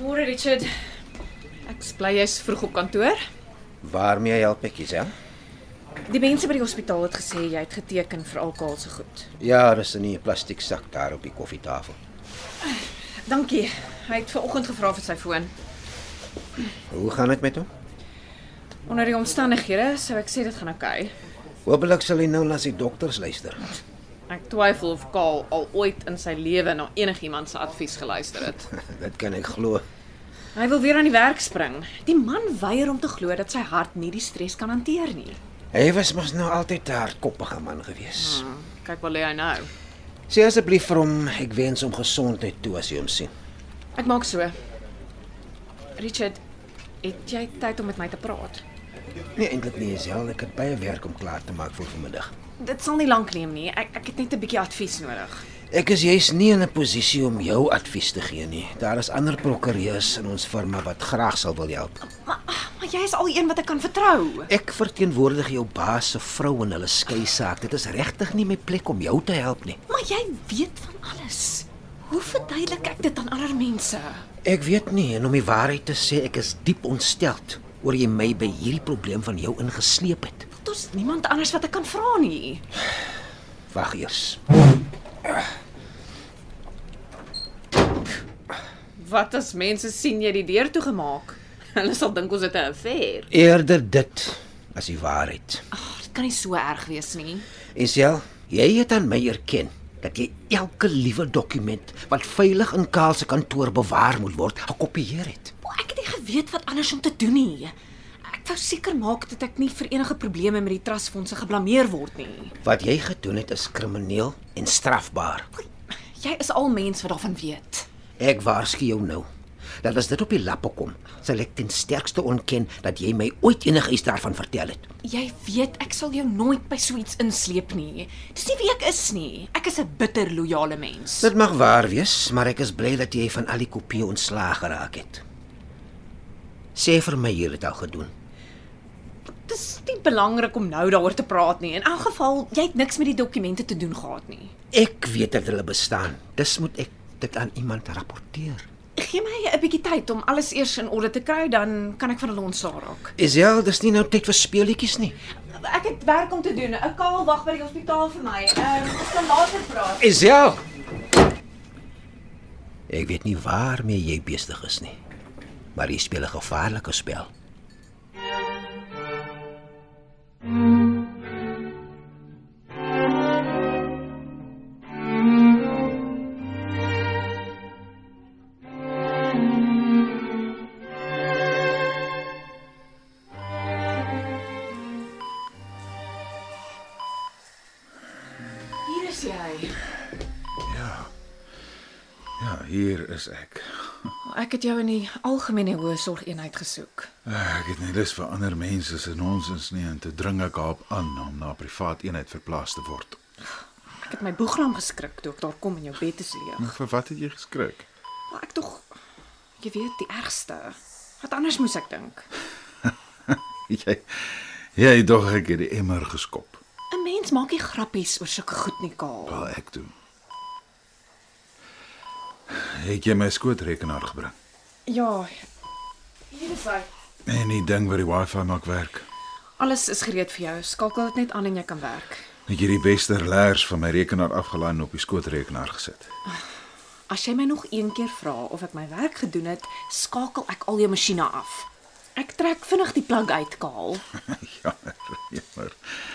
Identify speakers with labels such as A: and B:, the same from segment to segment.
A: Môre Richard. Ek is bly jy's vroeg op kantoor.
B: Waarmee help ek jou?
A: Die mense by die hospitaal het gesê jy het geteken vir alkohol se goed.
B: Ja, dis in 'n plastiek sak daar op die koffietafel.
A: Dankie. Hy het ver oggend gevra vir sy foon.
B: Hoe gaan dit met hom?
A: Onder die omstandighede sou ek sê dit gaan oukei.
B: Hoopelik sal hy nou na sy dokters luister.
A: Ek twyfel of Kaal al ooit in sy lewe na enigiemand se advies geluister het.
B: dit kan ek glo.
A: Hy wil weer aan die werk spring. Die man weier om te glo dat sy hart nie die stres kan hanteer nie.
B: Hy was mos nou altyd 'n hardkoppige man gewees.
A: Hmm, Kyk waar lê hy nou.
B: Sê asseblief vir hom ek wens hom gesondheid toe as jy hom sien.
A: Ek maak so. Richard, het jy tyd om met my te praat?
B: Nee, eintlik nie self, ek het baie werk om klaar te maak vir vanmiddag.
A: Dit sal nie lank neem nie. Ek ek het net 'n bietjie advies nodig.
B: Ek is juis nie in 'n posisie om jou advies te gee nie. Daar is ander prokureurs in ons firma wat graag sal wil help.
A: Maar maar jy is al een wat ek kan vertrou.
B: Ek verteenwoordig jou baas se vrou in hulle skei saak. Dit is regtig nie my plek om jou te help nie.
A: Maar jy weet van alles. Hoe verduidelik ek dit aan ander mense?
B: Ek weet nie en om die waarheid te sê, ek is diep ontsteld oor jy my by hierdie probleem van jou ingesleep het.
A: Daar's niemand anders wat ek kan vra nie.
B: Wag eers.
A: Wat as mense sien jy die deur toegemaak? Hulle sal dink ons het 'n affair.
B: Eerder dit as die waarheid.
A: Ag, dit kan nie so erg wees nie.
B: Isel, jy het aan my erken dat jy elke liewe dokument wat veilig in Kaal se kantoor bewaar moet word, gekopieer het.
A: Maar ek het nie geweet wat anders om te doen nie. Ek wou seker maak dat ek nie vir enige probleme met die trustfondse geblameer word nie.
B: Wat jy gedoen het is krimineel en strafbaar.
A: Jy is al mens wat daarvan weet.
B: Ek waarsku jou nou. Dat as dit op die lappe kom, sal ek ten sterkste ontken dat jy my ooit enigiets daarvan vertel het.
A: Jy weet ek sal jou nooit by so iets insleep nie. Dis nie wie ek is nie. Ek is 'n bitter loyale mens.
B: Dit mag waar wees, maar ek is bly dat jy van al die kopieë ontslaag geraak het. Sê vir my jy het dit al gedoen.
A: Dis nie belangrik om nou daaroor te praat nie. In elk geval, jy het niks met die dokumente te doen gehad nie.
B: Ek weet dat hulle bestaan. Dis moet ek dit aan iemand rapporteer.
A: Gee my 'n bietjie tyd om alles eers in orde te kry, dan kan ek van hulle ontslaa raak.
B: Isel, dis nie nou tyd vir speelietjies nie.
A: Ek het werk om te doen. 'n Kaal wag by die hospitaal vir my. Ehm, um, ons kan later praat.
B: Isel. Ek weet nie waarmee jy besig is nie. Maar jy speel 'n gevaarlike spel.
A: Hier is jy.
C: Ja, hier is ek.
A: Ek het jou in die algemene hoë sorgeenheid gesoek.
C: Eh, Ek het nie lus vir ander mense se nonsens nie en te dring ek haar op aan om na 'n privaat eenheid verplaas te word.
A: Ek het my boegram geskrik toe ek daar kom en jou bed is leeg.
C: Maar vir wat het jy geskrik?
A: Maar ek tog jy weet die ergste. Wat anders moes ek dink?
C: Jy jy dog ek het die emmer geskop.
A: 'n Mens maak nie grappies oor sulke goed nie, Kaal.
C: Wel ek toe. Het jy my skootrekenaar gebring?
A: Ja. Hier is hy.
C: En die ding wat die wifi maak werk.
A: Alles is gereed vir jou. Skakel dit net aan en jy kan werk.
C: Ek het die beste leers van my rekenaar afgelaai en op die skootrekenaar gesit.
A: As jy my nog een keer vra of ek my werk gedoen het, skakel ek al jou masjiene af. Ek trek vinnig die plug uit, Kaal.
C: jammer, jammer. Ja,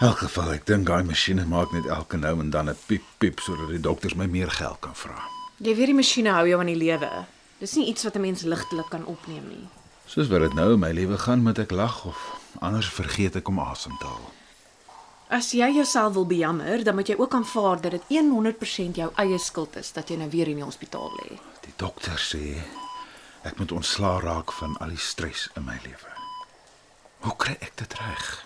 C: In elk geval, ek dink daai masjiene maak net elke nou en dan 'n piep piep sodat die dokters my meer geld kan vra.
A: Jy weet die masjiene hou jou aan die lewe. Dis nie iets wat 'n mens ligtelik kan opneem nie.
C: Soos wat dit nou in my lewe gaan, moet ek lag of anders vergeet ek om asem te haal.
A: As jy jouself wil bejammer, dan moet jy ook aanvaar dat dit 100% jou eie skuld is dat jy nou weer in die hospitaal lê.
C: Die dokter sê ek moet ontslaa raak van al die stres in my lewe. Hoe kry ek dit reg?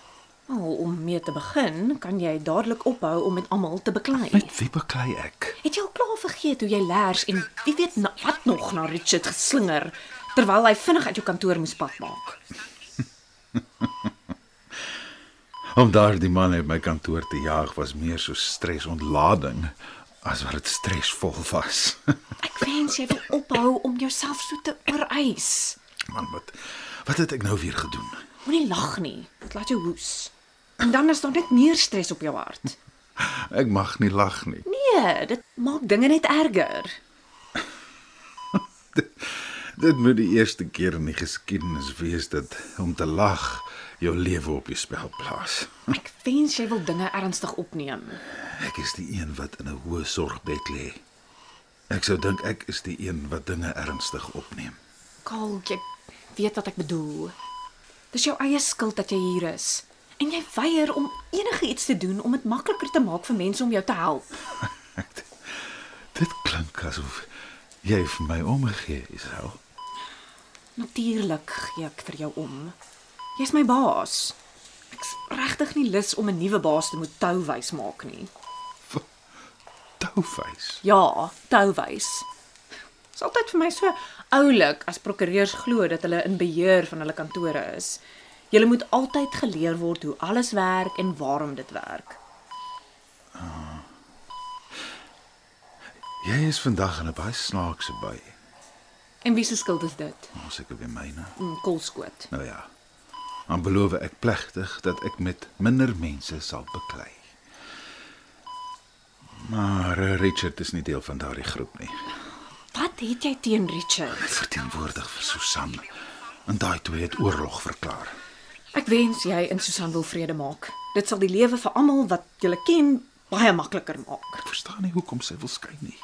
A: Nou, om mee te begin, kan jy dadelik ophou om met almal te beklei.
C: Met wie beklei ek?
A: Het jy al klaar vergeet hoe jy leers en wie weet na, wat nog na Richard geslinger terwyl hy vinnig uit jou kantoor moes pad maak?
C: Om daardie man uit my kantoor te jaag was meer so stresontlading as wat dit stresvol was.
A: Ek wens jy wil ophou om jouself so te oorwys.
C: Man, wat wat het ek nou weer gedoen?
A: Moenie lag nie, dit laat jou hoes. En dan is daar net meer stres op jou hart.
C: Ek mag nie lag nie.
A: Nee, dit maak dinge net erger.
C: Dit moet die eerste keer in die geskiedenis wees dat om te lag jou lewe op die spel plaas.
A: Ek wens jy wil dinge ernstig opneem.
C: Ek is die een wat in 'n hoë sorgbed lê. Ek sou dink ek is die een wat dinge ernstig opneem.
A: Kaal, jy weet wat ek bedoel. Dis jou eie skuld dat jy hier is. En jy weier om enigiets te doen om dit makliker te maak vir mense om jou te help.
C: Ek, dit klink asof jy vir my omgee, Israel.
A: Natuurlik gee ek vir jou om. Jy's my baas. Ek's regtig nie lus om 'n nuwe baas te moet touwys maak nie.
C: Touwfees.
A: Ja, touwys. Dit's altyd vir my so oulik as prokureurs glo dat hulle in beheer van hulle kantore is. Jy moet altyd geleer word hoe alles werk en waarom dit werk.
C: Jy is vandag in 'n baie snaakse by.
A: En wie se skuld is dit?
C: Ons ek weer myne.
A: Mm, Kolskoot.
C: Nou ja. Dan beloof ek plegtig dat ek met minder mense sal beklei. Maar eh, Richard is nie deel van daardie groep nie.
A: Wat het jy teen Richard?
C: Hy verteenwoordig vir Susan. En daai twee het oorlog verklaar.
A: Ek wens jy en Susan wil vrede maak. Dit sal die lewe vir almal wat julle ken baie makliker maak.
C: Ek verstaan nie hoekom sy wil skei nie.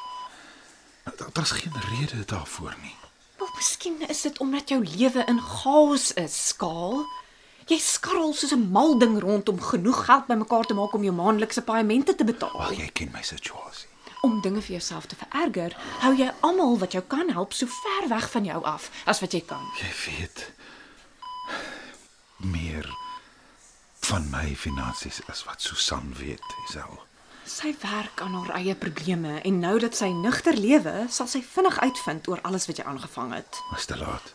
C: Da- Daar's geen rede daarvoor nie.
A: Wel, miskien is dit omdat jou lewe in chaos is, skaal. Jy skarrel soos 'n mal ding rondom genoeg geld bymekaar te maak om jou maandelikse paemente te betaal.
C: Ag, ja. jy ken my situasie.
A: Om dinge vir jouself te vererger, hou jy almal wat jou kan help so ver weg van jou af as wat jy kan.
C: Jy weet meer van my finansies as wat Susan weet, Isel.
A: Sy werk aan haar eie probleme en nou dat sy nugter lewe, sal sy vinnig uitvind oor alles wat jy aangevang het.
C: Dis te laat.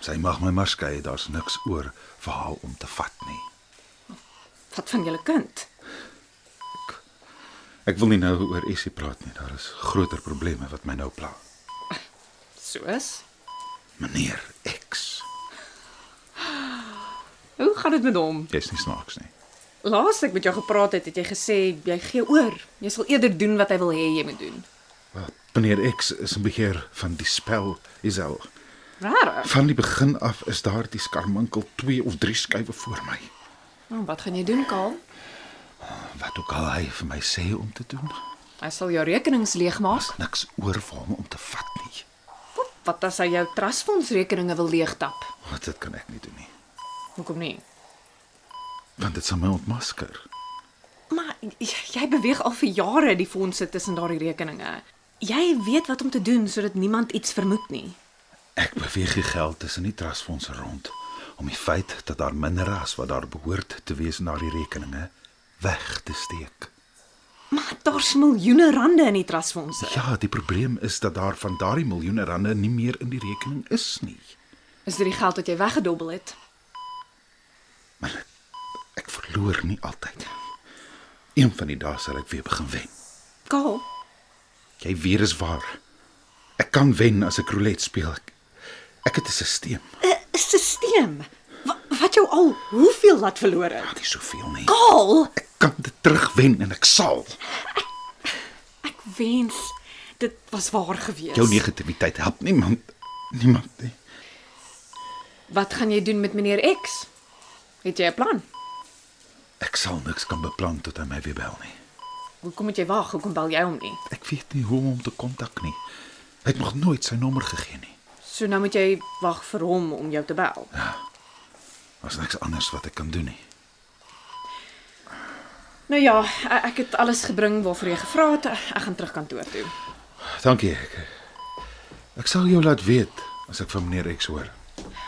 C: Sy mag my maar skei, daar's niks oor vir haar om te vat nie.
A: Wat van julle kind?
C: Ek wil nie nou oor Essie praat nie. Daar is groter probleme wat my nou pla.
A: Soos?
C: Meneer X.
A: Hoe gaan dit met hom?
C: Jy's nie snaaks nie.
A: Laas ek met jou gepraat het, het jy gesê jy gee oor. Jy sal eerder doen wat hy wil hê jy moet doen.
C: Wel, meneer X is 'n beheer van die spel, Isel.
A: Rarig.
C: Van die begin af is daar die skarminkel 2 of 3 skuwe voor my.
A: Nou, wat gaan jy doen, Kaal?
C: Wat ook al hy vir my sê om te doen,
A: Hy sal jou rekenings leegmaak.
C: daar's niks oor vir hom om te vat nie.
A: Wat, wat as hy jou trustfondsrekeninge wil leegtap?
C: Wat dit kan ek nie doen nie,
A: Hoekom nie?
C: want dit sal my ontmasker.
A: Maar j- jy beweeg al vir jare die fondse tussen daardie rekeninge. Jy weet wat om te doen sodat niemand iets vermoed nie.
C: Ek beweeg die geld tussen die trustfondse rond om die feit dat daar minder as wat daar behoort te wees na die rekeninge weg te steek.
A: Maar daar's miljoene rande in die trustfondse.
C: Ja, die probleem is dat daar van daardie miljoene rande nie meer in die rekening is nie.
A: Is dit die geld wat jy weggedobbel het?
C: Ek verloor nie altyd. Een van die dae sal ek weer begin wen.
A: Kaal,
C: Jy weet is waar. Ek kan wen as ek roulette speel. Ek, ek het 'n stelsel,
A: 'n stelsel wat jou al hoeveel laat verloor het.
C: nie soveel nie.
A: Kaal,
C: Ek kan dit terugwen en ek sal.
A: ek wens dit was waar gewees.
C: Jou negativiteit help niemand niemand nie.
A: Wat gaan jy doen met meneer X? Het jy 'n plan?
C: Ek sal niks kan beplan tot hy my weer bel nie.
A: Hoekom moet jy wag? Hoekom bel jy hom nie?
C: Ek weet nie hoe om hom te kontak nie. Hy het nog nooit sy nommer gegee nie.
A: So nou moet jy wag vir hom
C: Ja.
A: om jou te bel.
C: Daar's niks anders wat ek kan doen nie.
A: Nou ja, e- ek het alles gebring waarvoor jy gevra het. Ek gaan terug kantoor toe.
D: Dankie. Ek, ek sal jou laat weet as ek van meneer X hoor.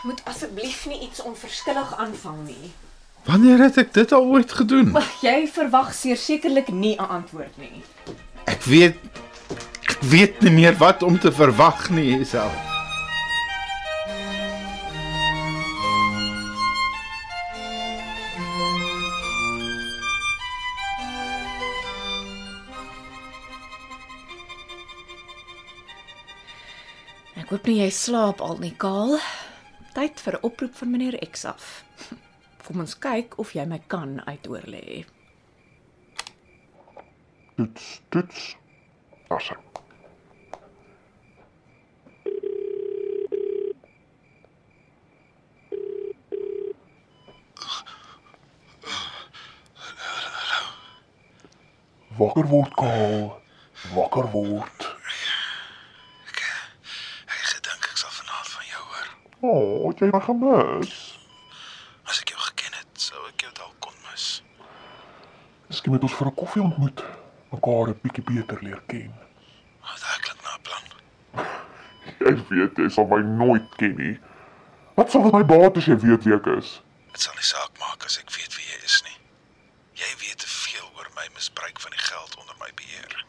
A: Moet asseblief nie iets onverskillig aanvang nie.
D: Wanneer het ek dit al ooit gedoen?
A: Jy verwag sekerlik nie 'n antwoord nie.
D: Ek weet ek weet nie meer wat om te verwag nie self.
A: Ek hoop nie jy slaap al nie, Kaal. Tyd vir 'n oproep van meneer X af. Kom ons kyk of jy my kan uitoorlê.
E: Toets, toets. Daar's hy. Wakker word, Kaal. Wakker word.
C: Ek gedink ek sal vanaand van jou hoor.
E: O, oh, het jy my gemis?
C: As ek jou geken het, sou ek jou dalk kon mis.
E: Miskien moet ons vir 'n koffie ontmoet, mekaar 'n bietjie beter leer ken.
C: Maar daai klink na 'n plan.
E: Jy weet jy sal my nooit ken nie. Wat sal dit my baat as jy weet wie ek is?
C: Dit sal nie saak maak as ek weet wie jy is nie. Jy weet te veel oor my misbruik van die geld onder my beheer.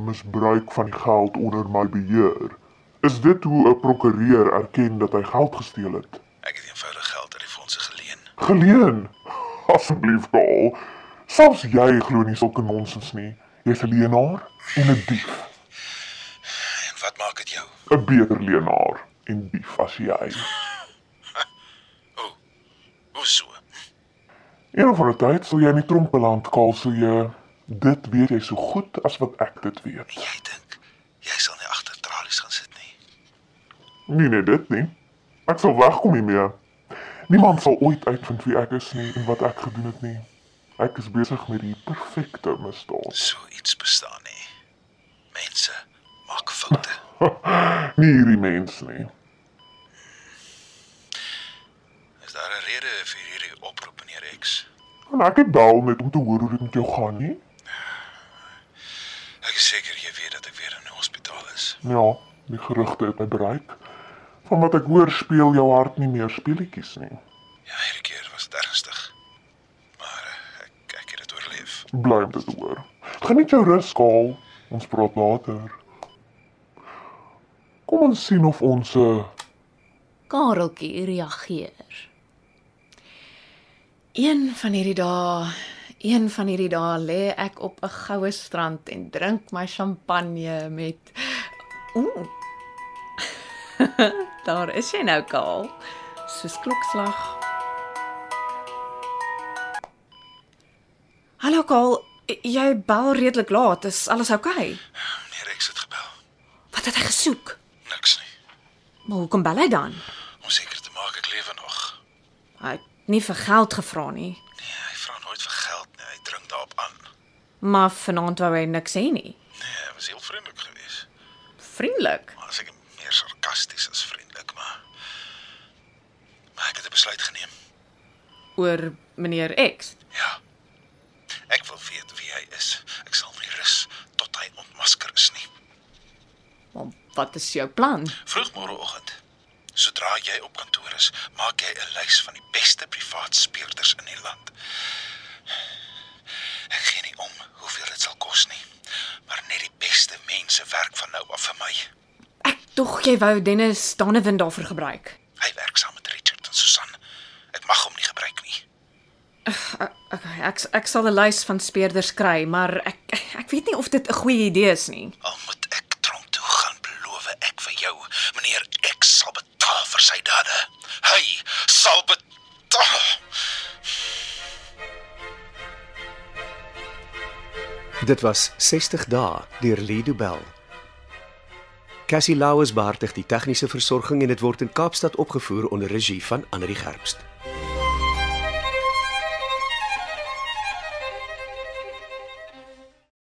E: misbruik van die geld onder my beheer. Is dit hoe 'n prokureur erken dat hy geld gesteel het?
C: Ek het eenvoudig geld uit die fondse geleen.
E: Geleen. Asseblief, Kaal. Selfs jy glo nie sulke nonsens nie. Jy's 'n leienaar en 'n dief.
C: En wat maak dit jou?
E: 'n Beter leienaar en dief as jy.
C: O. Hoe so?
E: Een van die tyd sal jy in die tronk beland, Kaal, so jy dit weet jy so goed as wat ek dit weet.
C: Jy dink jy sal nie agter tralies gaan sit nie.
E: Nie net dit nie. Ek sal wegkom hiermee. Niemand sal ooit uitvind wie ek is nie en wat ek gedoen het nie. Ek is besig met die perfekte misdaad.
C: So iets bestaan nie. Mense maak foute.
E: Nie hierdie mens nie.
C: Is daar 'n rede vir hierdie oproep, meneer X?
E: En ek het bel net om te hoor hoe dit met jou gaan nie.
C: Ek is seker jy weet dat ek weer in die hospitaal is.
E: Ja, die gerugte het my bereik. Van wat ek hoor, speel jou hart nie meer speletjies nie.
C: Ja, hierdie keer was dit ernstig. Maar eh, ek ek het dit oorleef.
E: Bly om dit te hoor. Geniet jou rus, Kaal. Ons praat later. Kom ons sien of ons eh, 'n
A: Kareltjie reageer. Een van hierdie dae, een van hierdie dae lê ek op 'n goue strand en drink my champagne met Ooh. Daar is jy nou, Kaal. Soos klokslag. Hallo Kaal, jy bel redelik laat. Is alles oukei? Okay?
C: Meneer Rex het gebel.
A: Wat het hy gesoek?
C: Niks nie.
A: Maar hoekom bel hy dan?
C: Om seker te maak ek lewe nog.
A: Hy het nie vir geld gevra nie.
C: Nee, hy vra nooit vir geld nie. Hy dring daarop aan.
A: Maar vanaand wou hy niks hê nie.
C: Nee, hy was heel vriendelik geweest.
A: Vriendelik.
C: Maar as ek meer sarkasties as vriendelik, maar maar ek het 'n besluit geneem.
A: Oor meneer X.
C: Ja. Ek wil weet wie hy is. Ek sal nie rus tot hy ontmasker is nie.
A: Maar wat is jou plan?
C: Vroegmôreoggend, sodra jy op kantoor is, maak jy 'n lys van die beste privaat speurders in die land. Ek gee nie om hoeveel dit sal kos nie, maar net die beste mense werk van nou af vir my.
A: Ek tog jy wou Dennis Donovan daarvoor gebruik.
C: Hy werk saam met Richard en Susan. Ek mag hom nie gebruik nie.
A: Okay, ek ek sal 'n lys van speerders kry, maar ek ek weet nie of dit 'n goeie idee is nie.
C: Al moet ek tronk toe gaan, beloof ek vir jou, meneer X sal betaal vir sy dade. Hy sal betaal.
F: Dit was 60 dae deur Lido Bell. Cassie Lauers beheer die tegniese versorging en dit word in Kaapstad opgevoer onder regie van Anri Gerbst.